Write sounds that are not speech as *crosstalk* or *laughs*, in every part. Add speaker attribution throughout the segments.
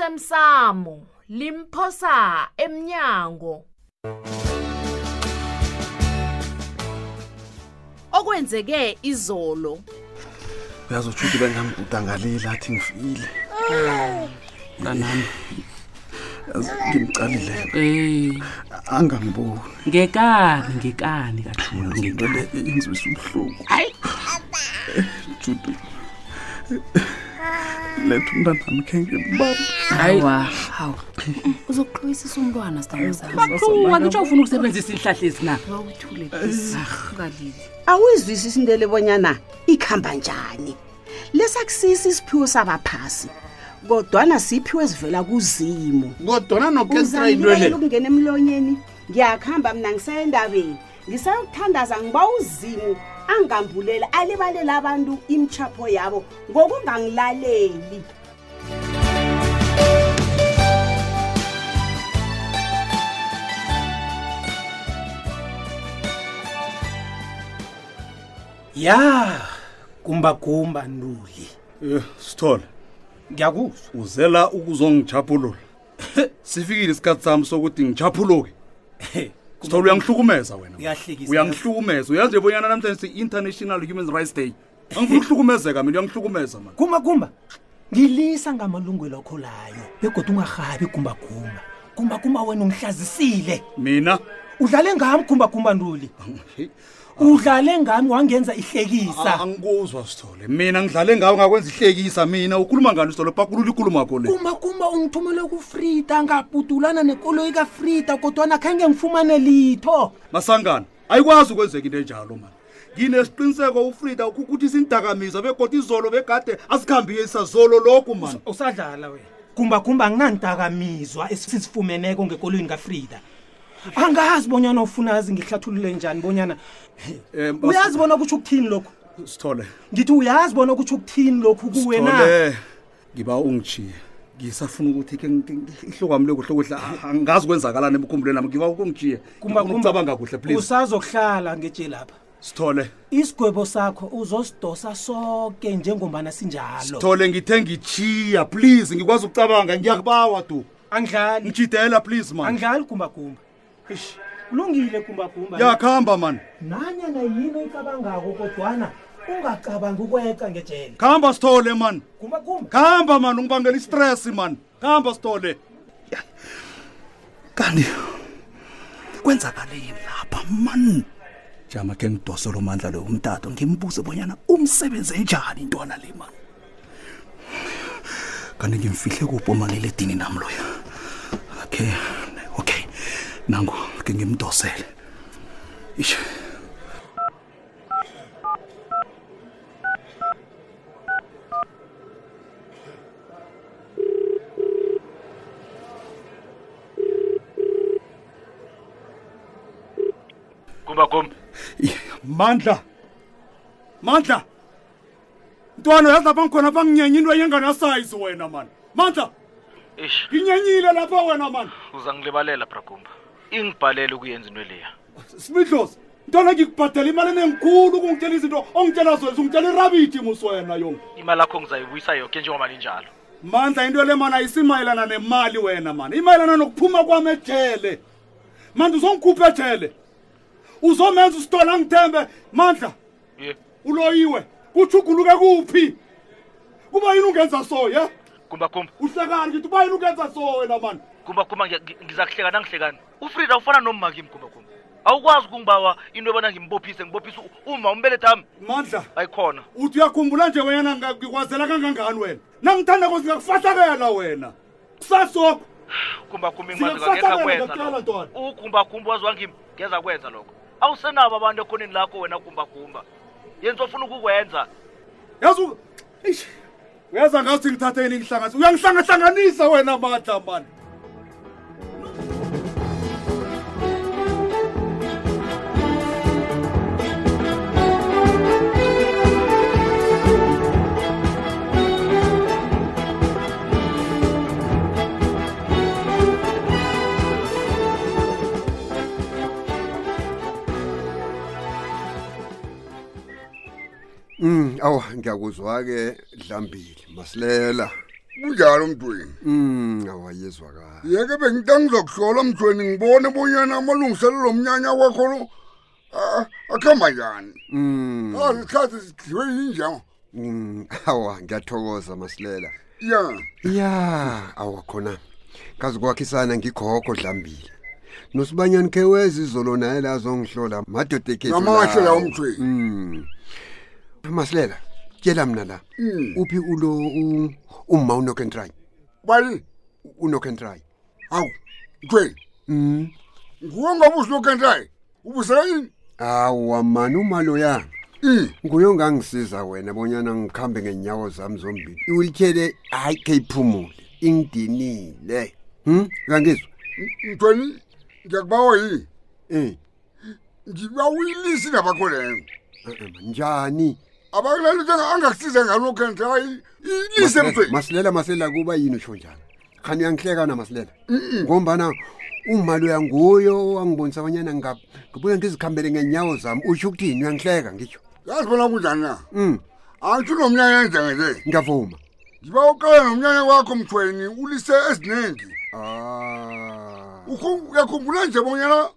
Speaker 1: osemsamo limphosa emnyango okwenzeke izolo
Speaker 2: uyazi utshuti bengamguda ngalile athi ngifile
Speaker 3: mntanami
Speaker 2: Yazi, ngimcalile
Speaker 3: eyi
Speaker 2: angangiboni
Speaker 3: ngekani ngekani kathula
Speaker 2: Yazi, into le inzwisa ubuhlungu
Speaker 3: Hayi.
Speaker 2: juti letha umntanami khe ngimbamba
Speaker 3: hayi
Speaker 4: hawu uzokuqhubisisa umntwana sitamzami
Speaker 3: baqhuwa ngitsho ufuna ukusebenzisa ihlahla ezi na
Speaker 4: ungalili
Speaker 5: awuyizwisisi into lebonyana ikhamba njani lesakusisi isiphiwo sabaphasi kodwana siphiwo ezivela kuzimo
Speaker 6: kodwana
Speaker 5: uzanibekela
Speaker 6: nokestrayilwele
Speaker 5: ukungena emlonyeni ngiyakuhamba mina ngiseyendabeni ngisayokuthandaza ngiba uzimo angambulela alibalela abantu imitshapo yabo ngokungangilaleli
Speaker 7: ya gumbagumba ntuli
Speaker 6: sithole
Speaker 7: ngiyakuzwa
Speaker 6: uzela ukuzongijabulula *laughs* sifikile isikhathi sami sokuthi ngijabuluke sithole uyangihlukumeza wena
Speaker 7: Uyahlekisa.
Speaker 6: uyangihlukumeza uyazi nje bonyana namhlanje si-international human rights day angifuna ukuhlukumezeka mina uyangihlukumeza mani
Speaker 7: gumbagumba ngilisa ngamalungelo akho layo begodwa ungarhabi gumbagumba gumbagumba wena ungihlazisile
Speaker 6: mina
Speaker 7: udlale ngami gumbagumba ntuli
Speaker 6: Hey,
Speaker 7: udlale ngami wangenza
Speaker 3: Ah,
Speaker 7: ihlekisa
Speaker 6: angikuzwa sithole mina ngidlale ngawe ngakwenza ihlekisa mina ukhuluma ngani sithole pakulula ikulumo yakho le
Speaker 7: gumbagumba ungithumele kufrida ngabhudulana nekoloyi kafrida kodwana khange ngifumane litho
Speaker 6: masangana ayikwazi ukwenzeka into enjalo mani nginesiqiniseko ufrida ukuthi sindakamizwa begoda izolo begade asikhambiyisa zolo lokhu mani
Speaker 7: usadlala wena gumbagumba anginantakamizwa esisifumeneko ngekoloyini kafrida angazi bonyana ufuna azi ngihlathulule njani bonyana
Speaker 6: Em, bas-
Speaker 7: uyazi bona kutsho ukuthini lokhu
Speaker 6: sithole
Speaker 7: ngithi uyazi bona kutsho ukuthini lokhu kuwena
Speaker 6: Sithole, ngiba ungijiye ngisafuna ukuthi ke ngi- ngi- ihlokwami lokuhle kuhle a- angazi kwenzakalani emkhumbulweni nami ngiba ukungijiye ucabanga kuhle please
Speaker 7: usazokuhlala ngetshe lapha
Speaker 6: sithole
Speaker 7: isigwebo sakho uzosidosa soke njengombana sinjalo
Speaker 6: sithole ngithe ngijiya please ngikwazi ukucabanga ngiyakubawa tu
Speaker 7: angidlali
Speaker 6: ngijidela please man
Speaker 7: angidlali gumbagumba Eish, kulungile gumbagumba
Speaker 6: yakuhamba mani
Speaker 7: nanyana yini oyicabangako kodwana ungacabangi ukweca ngejele
Speaker 6: kuhamba sithole mani
Speaker 7: gumbagumba
Speaker 6: kuhamba mani ungibangela istress mani kuhamba sithole
Speaker 2: kanti kwenzakaleni lapha mani jama khe ngidosele umandla loyo umtato ngimbuze bonyana umsebenze njani intwana le mani kanti ngimfihle kuphi umaliledini nami loyo okay okay nango ke ngimdosele ish
Speaker 8: gumbagumba
Speaker 6: mandla mandla mntwana yazi lapha ngikhona banginyenye into eyenganasayizi wena mani mandla
Speaker 8: ish
Speaker 6: nginyenyile lapha wena mani
Speaker 8: uzangilibalela bragumba ingibhalele ukuyenza into leya
Speaker 6: smidlos mntwana ngikubhadela imali enengikhulu ukungitshela izinto ongitshela zona sungitshela irabithi muswena yong
Speaker 8: imali akho ngizayibuyisa yoke njengoba linjalo
Speaker 6: mandla into le mani ayisimayelana nemali wena mani imayelana nokuphuma kwami ejele mandi uzongikhupha ejele uzomenza usitona angithembe mandla
Speaker 8: ye
Speaker 6: uloyiwe kuthuguluke kuphi kuba yini ungenza so ye
Speaker 8: gumbagumba
Speaker 6: uhlekani ngithi uba yini ungenza so wena mani
Speaker 8: gumbagumba ngiya- ngiza kuhlekana angihlekani ufrida ufana nommakimi gumbagumba awukwazi ukungibawa into ebona ngimbophise ngibophise u- uma umbeletha wami
Speaker 6: mandla
Speaker 8: ayikhona
Speaker 6: uthi uyakhumbula nje wena nga- ngikwazela kangangani wena nangithandako singakufahlakela wena kusasoko
Speaker 8: gumbagumba
Speaker 6: Singakufaka wena,
Speaker 8: ngimazingekekakwenza
Speaker 6: ngiyakutshela Ntoni.
Speaker 8: ugumbagumba wazi wangimi ngeza kwenza lokho awusenabo abantu ekhoneni lakho wena gumbagumba yenza ofuna ukukwenza
Speaker 6: yazi u- Eish, uyaza ngathi ngithathe yini ngihlanganisa uyangihlangahlanganisa wena mandla mani
Speaker 9: Mm, awu ngiyakuzwa ke dlambili masilela kunjalo mntweni
Speaker 10: Mm, awayezwakala.
Speaker 9: yeke bengita ngizokuhlola mthweni ngibone bonyana amalungiselelo omnyanya wakho lo ah, akuhamba njani
Speaker 10: Mm.
Speaker 9: azisikhathi sidliwe yinjama
Speaker 10: Mm, awa ngiyathokoza masilela.
Speaker 9: ya
Speaker 10: Ya, awakhona. Kazi kwakhisa ngikhokho dlambile. Nosibanyani ke wezizolo naye lazo ngihlola madoda ekhethu.
Speaker 9: Ngamalahle lawo mthweni.
Speaker 10: mthweni. Mm. Masilela, tshela mina la.
Speaker 9: Mm.
Speaker 10: Uphi ulo u- umma uNock and Try?
Speaker 9: bali
Speaker 10: UNock and Try.
Speaker 9: hawu mthweni
Speaker 10: Mm.
Speaker 9: nguwe ngoba usilokentaye ubusela yini
Speaker 10: Awa manu malo ya.
Speaker 9: Mm.
Speaker 10: Nguyo ngangisiza wena bonyana ngikhambe ngenyawo zami zombili. Iwilchele hayi ke iphumule. Ingidinile. Hm? Kangizwa.
Speaker 9: mthweni ngiyakubawa yini
Speaker 10: Eh,
Speaker 9: ngibawuyilisi nabakholengo
Speaker 10: eh, eh, njani?
Speaker 9: abakulalutho angakusiza ngalokentaye ilise
Speaker 10: Masilela-
Speaker 9: mthweni
Speaker 10: Masilela masilela kuba yini usho njalo? Khani uyangihleka na masilela. Ngombana umalo yanguyo wangibonisa abanyana ngapha. Ngibuye ngizikhambele ngenyawo zami. Usho ukuthini uyangihleka ngisho.
Speaker 9: yazi bona kunjani na
Speaker 10: Mm,
Speaker 9: angisho nomnyanya enjengele
Speaker 10: ngiyavuma.
Speaker 9: ngiba uqala nomnyanya wakho mthweni ulise eziningi
Speaker 10: Ah.
Speaker 9: Ukhu- uyakhumbula nje bonyana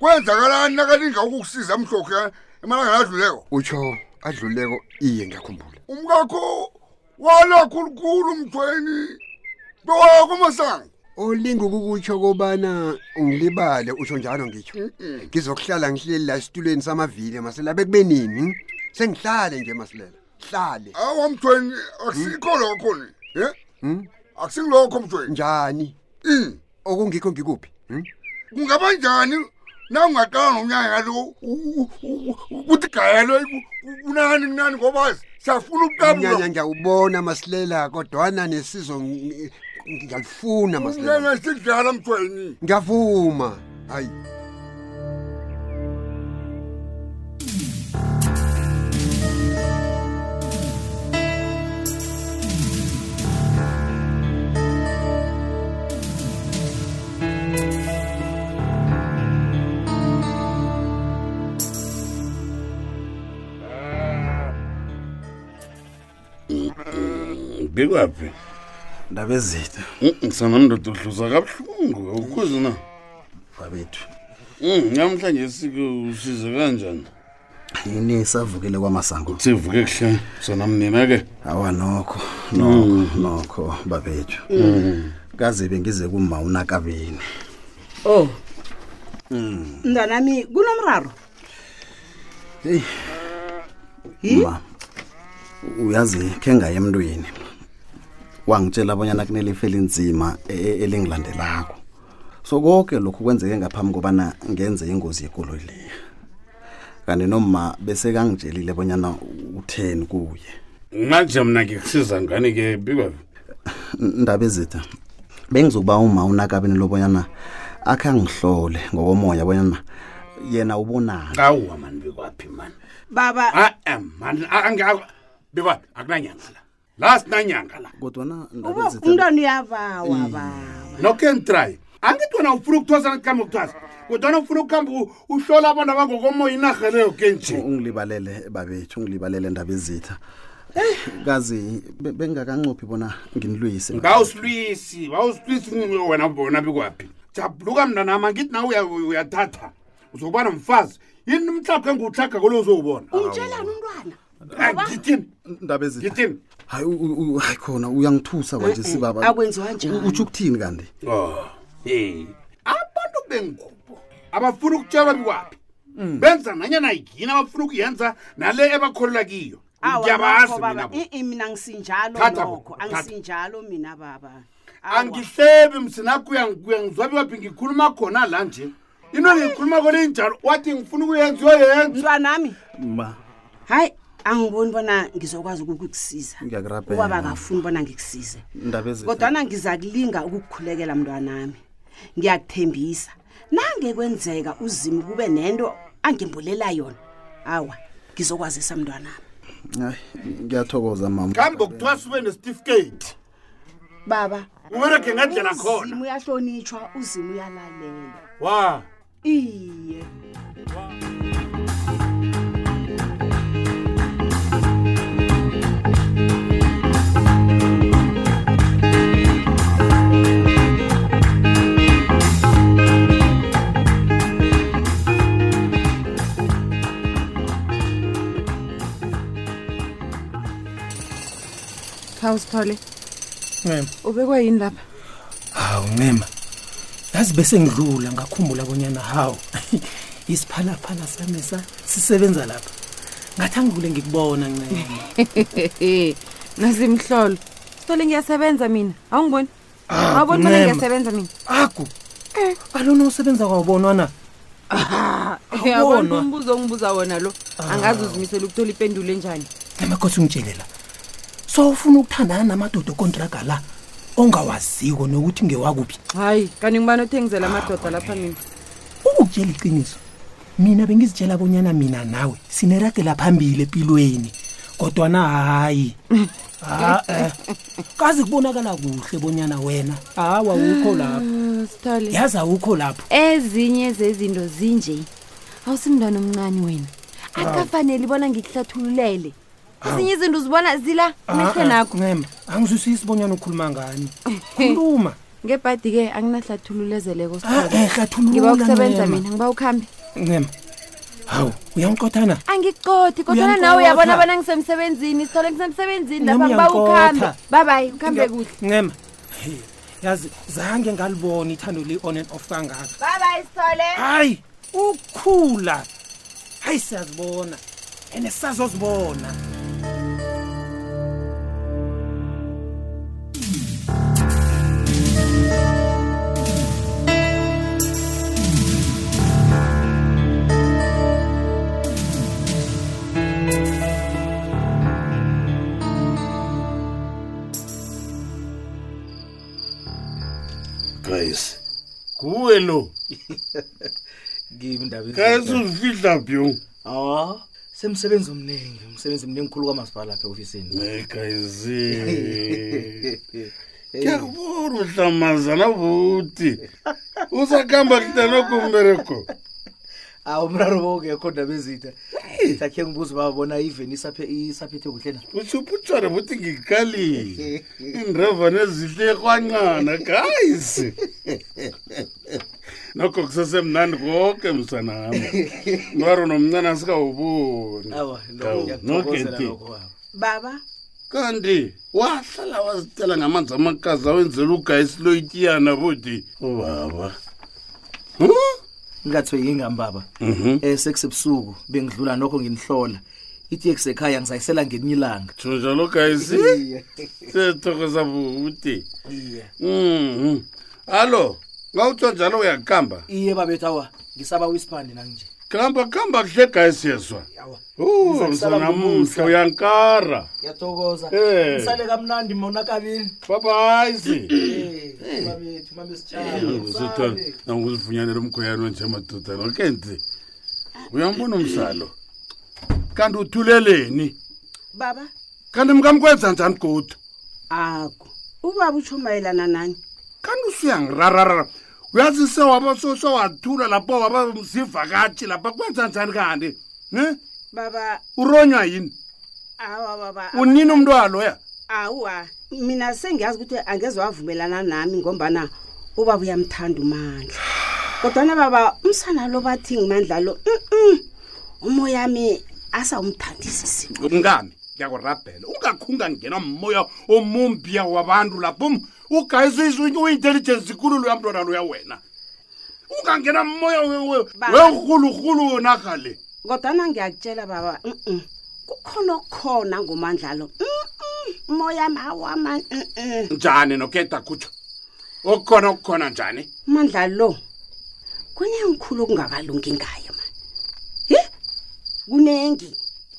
Speaker 9: kwenzakalani nakalinga ukukusiza mhlokhe emalangana adluleko
Speaker 10: Utsho adluleko iye ngiyakhumbula.
Speaker 9: umkakho wala khulukhulu mthweni bewaya kumasanga
Speaker 10: olinga ukukutsho kobana ngilibale usho njalo ngitsho ngizokuhlala ngihleli la esitulweni samavili masilela bekube nini hm? sengihlale nje masilela hlale
Speaker 9: awa mthweni akusikho lokho ni e akusingilokho mthweni
Speaker 10: njani
Speaker 9: Mm.
Speaker 10: okungikho ngikuphi hm?
Speaker 9: kungaba njani na ungaqala nomnyanya ngalo kutigayelwe kunani kunani ngoba siyafuna ukuqabula
Speaker 10: mnyanya ngiyawubona masilela kodwana nesizo ngi- ngiyalifuna masilela
Speaker 9: umnyanya sidlala mthweni
Speaker 10: ngiyavuma hayi
Speaker 6: bikwaphi
Speaker 2: ndaba ezitha
Speaker 6: Mm, sanamndoda uhluza kabuhlungu awukhuzi na
Speaker 2: babethu
Speaker 6: Mm, namhlanje sike usize kanjani
Speaker 2: yini savukile kwamasango
Speaker 6: sivuke kuhle sanamnina ke
Speaker 2: awa nokho
Speaker 10: Mm.
Speaker 2: nokho nokho babethu kaze bengize kuma unakabeni
Speaker 4: Oh,
Speaker 6: Mm.
Speaker 5: mntwanami kunomraro
Speaker 2: heyi ma uyazi khe ngaye emntwini wangitshela abonyana kunelifu elinzima e- e- elingilandelako so konke lokhu kwenzeke ngaphambi kobana ngenze ingozi yekoloyi leyo kanti noma besekangitshelile bonyana utheni kuye
Speaker 6: manje mna ngikusiza ngani ke bikwaphi
Speaker 2: N- ndaba ezitha bengizokuba uma unakabeni lobonyana akhe angihlole ngokomoya bonyana yena ubonani
Speaker 6: awa mani bikwaphi mani
Speaker 5: baba
Speaker 6: a-e mani bikwaphi akunanyanga la la sinanyanga la
Speaker 2: kodwana
Speaker 6: Ah,
Speaker 2: ndaba
Speaker 5: ubo
Speaker 2: ezitha
Speaker 5: umntwana
Speaker 6: Mm.
Speaker 5: uyabawa baba
Speaker 6: noken try angithi wena ufuna ukuthwasa ngikuhambe ukuthwasa kodwana ufuna ukuhambe u- uhlola abantu abangokomoya inarha leyo ke nje
Speaker 2: ungilibalele babethu ungilibalele ndaba ezitha Eh, kazi be- bengakancophi bona nginilwise
Speaker 6: ngawusilwisi wawusilwisi wena bona bikwaphi jabuluka mntanama ngithi nawe uya- uyathatha uzokuba nomfazi yini umhlaphe engiwuhlaga kolo uzowubona
Speaker 5: umtshelani umntwana
Speaker 6: Eh, ngithini
Speaker 2: ndaba ezitha
Speaker 6: ngithini
Speaker 2: hayi u- u- hayi khona uyangithusa kwanje sibaba
Speaker 5: Eh, akwenziwa njani.
Speaker 2: utsho ukuthini kanti
Speaker 6: oh hey abantu bengubo abafuna ukutshelwa bikwaphi
Speaker 5: Mm.
Speaker 6: benza nanyana yini abafuna ukuyenza nale ebakholelwa kiyo
Speaker 5: Awa,
Speaker 6: ngiyabazi
Speaker 5: nokho,
Speaker 6: mina
Speaker 5: baba
Speaker 6: bo.
Speaker 5: i-i mina ngisinjalo
Speaker 6: Thatha, bo,
Speaker 5: nokho
Speaker 6: thatha.
Speaker 5: angisinjalo mina baba Awa.
Speaker 6: angihlebi msinakho uyangizwa bikwaphi ngikhuluma khona la nje into engiyikhuluma kole injalo wathi ngifuna ukuyenza uyoyenza
Speaker 5: mntwanami
Speaker 2: ma
Speaker 5: hayi angiboni bona ngizokwazi ukukukusiza
Speaker 2: Ngiyakurabhela.
Speaker 5: ubaba akafuni bona ngikusize
Speaker 2: ndaba ezitha
Speaker 5: kodwana ngiza kulinga ukukukhulekela mntwanami ngiyakuthembisa nangekwenzeka uzima kube nento angimbulela yona awa ngizokwazisa mntwanami
Speaker 2: Hayi, ngiyathokoza mama
Speaker 6: kambe kuthwasa ube nesitifiketi
Speaker 5: baba
Speaker 6: ubereke ngendlela
Speaker 5: uzima
Speaker 6: khona
Speaker 5: uyahlonitshwa uzima uyalalela
Speaker 6: wa
Speaker 5: iye
Speaker 11: hawu sithole
Speaker 7: ncema
Speaker 11: ubekwe yini lapha *laughs*
Speaker 7: hawu ncema yazi bese ngidlula ngakhumbula abonyana hawu *laughs* isiphalaphala sami sa- sisebenza lapha ngathi angivule ngikubona ncema
Speaker 11: nasimhlolo sithole ngiyasebenza mina awungiboni
Speaker 7: Ah,
Speaker 11: awuboni bona
Speaker 7: Ncema.
Speaker 11: ngiyasebenza mina
Speaker 7: aku alona usebenza kwawubonwa na
Speaker 11: yabona
Speaker 7: Awubonwa.
Speaker 11: umbuzo ongibuza wona lo angazi uzimisela ukuthola ipendulo enjani
Speaker 7: namakosi ungitshele la so ufuna ukuthandana namadoda okontraga la ongawaziko nokuthi ngewakuphi
Speaker 11: hayi kanti ngibani othengizela amadoda lapha mina
Speaker 7: ukukutshela iqiniso mina bengizitshela abonyana mina nawe sineragela phambili empilweni kodwana hayi ha-e kazi kubonakala kuhle bonyana wena hawa awukho lapho
Speaker 11: Ah, sithole
Speaker 7: yazi awukho lapho
Speaker 11: ezinye zezinto zinje awusimntwana omncane wena
Speaker 7: Hawu.
Speaker 11: akafanele bona ngikuhlathululele ezinye izinto uzibona zila
Speaker 7: Ah,
Speaker 11: emehlweni akho
Speaker 7: ncema angizwisisi bonyana ukhuluma ngani khuluma
Speaker 11: ngebhadi-ke anginahlathululezeleko
Speaker 7: Ah, ehlathulula
Speaker 11: ngiba ukusebenza
Speaker 7: Ncema.
Speaker 11: mina ngiba ukuhambe
Speaker 7: ncema hawu uyangiqothana
Speaker 11: angicothi kodwana
Speaker 7: Uyangiqotha.
Speaker 11: nawe uyabona bona ngisemsebenzini sithole ngisemsebenzini
Speaker 7: Nami
Speaker 11: lapha ngiba ukuhambe
Speaker 7: uyangiqotha.
Speaker 11: babayi ukuhambe
Speaker 7: Ngiya-
Speaker 11: kuhle
Speaker 7: ncema Hey, yazi zange ngalibona ithando li-on and off kangaka
Speaker 11: babayi sithole
Speaker 7: hayi ukhula hayi siyazibona ene sisazozibona
Speaker 6: Grace. Kuwe lo.
Speaker 8: kimi ndaba
Speaker 6: Grace uzifihla byo.
Speaker 8: Ah, semsebenzi omningi, umsebenzi omningi khulu kwamasipala lapha eofisini.
Speaker 6: Eh *laughs* Grace. Kiyakubona uhlamazana vuti. Uzakhamba kitana kumbereko.
Speaker 8: Awu mraro bokekho ndaba ezitha. Sakhe ngibuza babona even isaphe isaphethe kuhle na.
Speaker 6: Ushuputshana buthi
Speaker 8: *laughs*
Speaker 6: ngikhalile. Indrevane ezihle kwancana guys. Nokho kusesemnandi konke
Speaker 8: *laughs*
Speaker 6: msanami. Nwaro nomncane asikawuboni.
Speaker 8: Awa,
Speaker 6: Awu,
Speaker 8: lokho ngiyakuthokozela
Speaker 6: nokhethi.
Speaker 8: lokho baba.
Speaker 5: baba
Speaker 6: kanti wahlala wazicela ngamanzi amakazi awenzela ugayisi loyitiyana bodi ubaba
Speaker 8: Ngathiwe yingambaba.
Speaker 6: Mhm.
Speaker 8: Eh sekusebusuku bengidlula nokho nginihlola. Ithi ekusekhaya ngizayisela ngelinye ilanga.
Speaker 6: njalo *laughs* gayisi sethokoza bodi Mhm. allo ngawutsho njalo uyakuhamba
Speaker 8: Iye babethu awa, ngisaba uyispande nanje.
Speaker 6: kuhamba kuhamba kuhle gayisi yezwa
Speaker 8: Ngiza kusala
Speaker 6: msanamuhle uyankara
Speaker 8: Ngiyathokoza.
Speaker 6: Eh.
Speaker 8: Ngisale kamnandi mona kabini.
Speaker 6: Bye bye.
Speaker 8: Eh, babethu mamisitshalo.
Speaker 6: nanguzifunyanela umkhweyana wanje madodana okenze uyambona umsalo kanti uthuleleni
Speaker 5: baba
Speaker 6: kanti mkamkwenza njani godu
Speaker 5: ako ubaba utsho mayelana nani
Speaker 6: kanti usuyangirararara uyazi sewabasosowathula lapho wabazivakatshi lapha kwenza njani kanti ne
Speaker 5: baba
Speaker 6: uronywa yini
Speaker 5: awa baba
Speaker 6: unini umntwaloya
Speaker 5: awuwa mina sengiyazi ukuthi angeze wavumelana nami ngombana ubaba uyamthanda umandla kodwana baba umsana lo bathi ngimandla lo mm-mm. umoya ami asawumthandisisi
Speaker 6: mngami ngiyakurabhela ungakhunga ngena mmoya omumbia wabantu lapho Um, ugayisuintelligensi ikululu yamntwana loya wena ungangena mmoya werhuluhulu yonaga le
Speaker 5: kodwana ngiyakutshela baba mm-mm. kukhona okukhona ngomandla lo mm-mm. umoya ami awama mm-mm.
Speaker 6: njani nokeda kutsho okukhona okukhona njani
Speaker 5: mandla lo kunengikhulu okungakalungi ngayo mani ye kunengi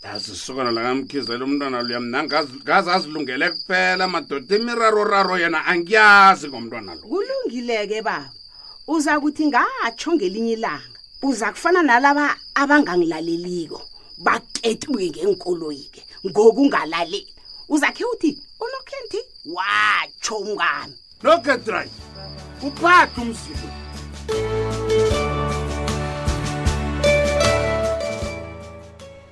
Speaker 6: azisukana lakamkhizela umntwana luya mna ngazi ngazi azilungele kuphela madoda imiraroraro yena angiyazi ngomntwana lo
Speaker 5: kulungile-ke baba uza kuthi ngatsho ngelinye ilanga uza kufana nalaba abangangilaleliko baketuke ngenkoloyi-ke ngokungalaleli uzakhe uthi unokenti watsho umngami
Speaker 6: nokedray uphathe umzilo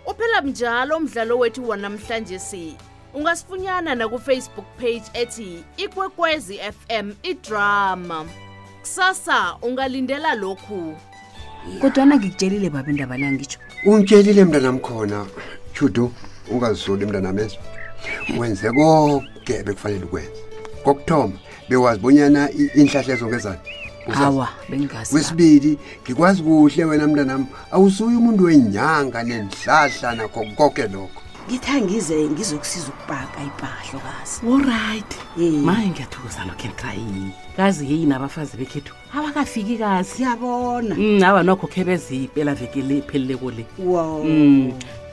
Speaker 1: Uphela njalo umdlalo wethu wanamhlanje si. Ungasifunyana na ku Facebook page ethi Ikwekwezi FM iDrama. Kusasa ungalindela lokhu.
Speaker 12: kodwana ngikutshelile baba indaba la ngitsho
Speaker 10: ungitshelile mntanam khona judu ungazisoli mntanam ezo wenze konke bekufanele ukwenza kokuthoma bewazi bonyana i- iinhlahla ezongezana
Speaker 13: Awa, bengazi lapho.
Speaker 10: wesibili ngikwazi kuhle wena mntanami awusuye umuntu wenyanga nenhlahla nakho konke lokho
Speaker 5: ngithi angize ngizokusiza ukupaka ipahlokazi
Speaker 1: olright maye ngiyathokozana kentrayi kazi yeyi nabafazi bekhethu abakafiki kazi
Speaker 5: siyabona
Speaker 1: Mm, awa nokho khe bezipela veke le phelileko le
Speaker 5: Wow.
Speaker 1: Mm,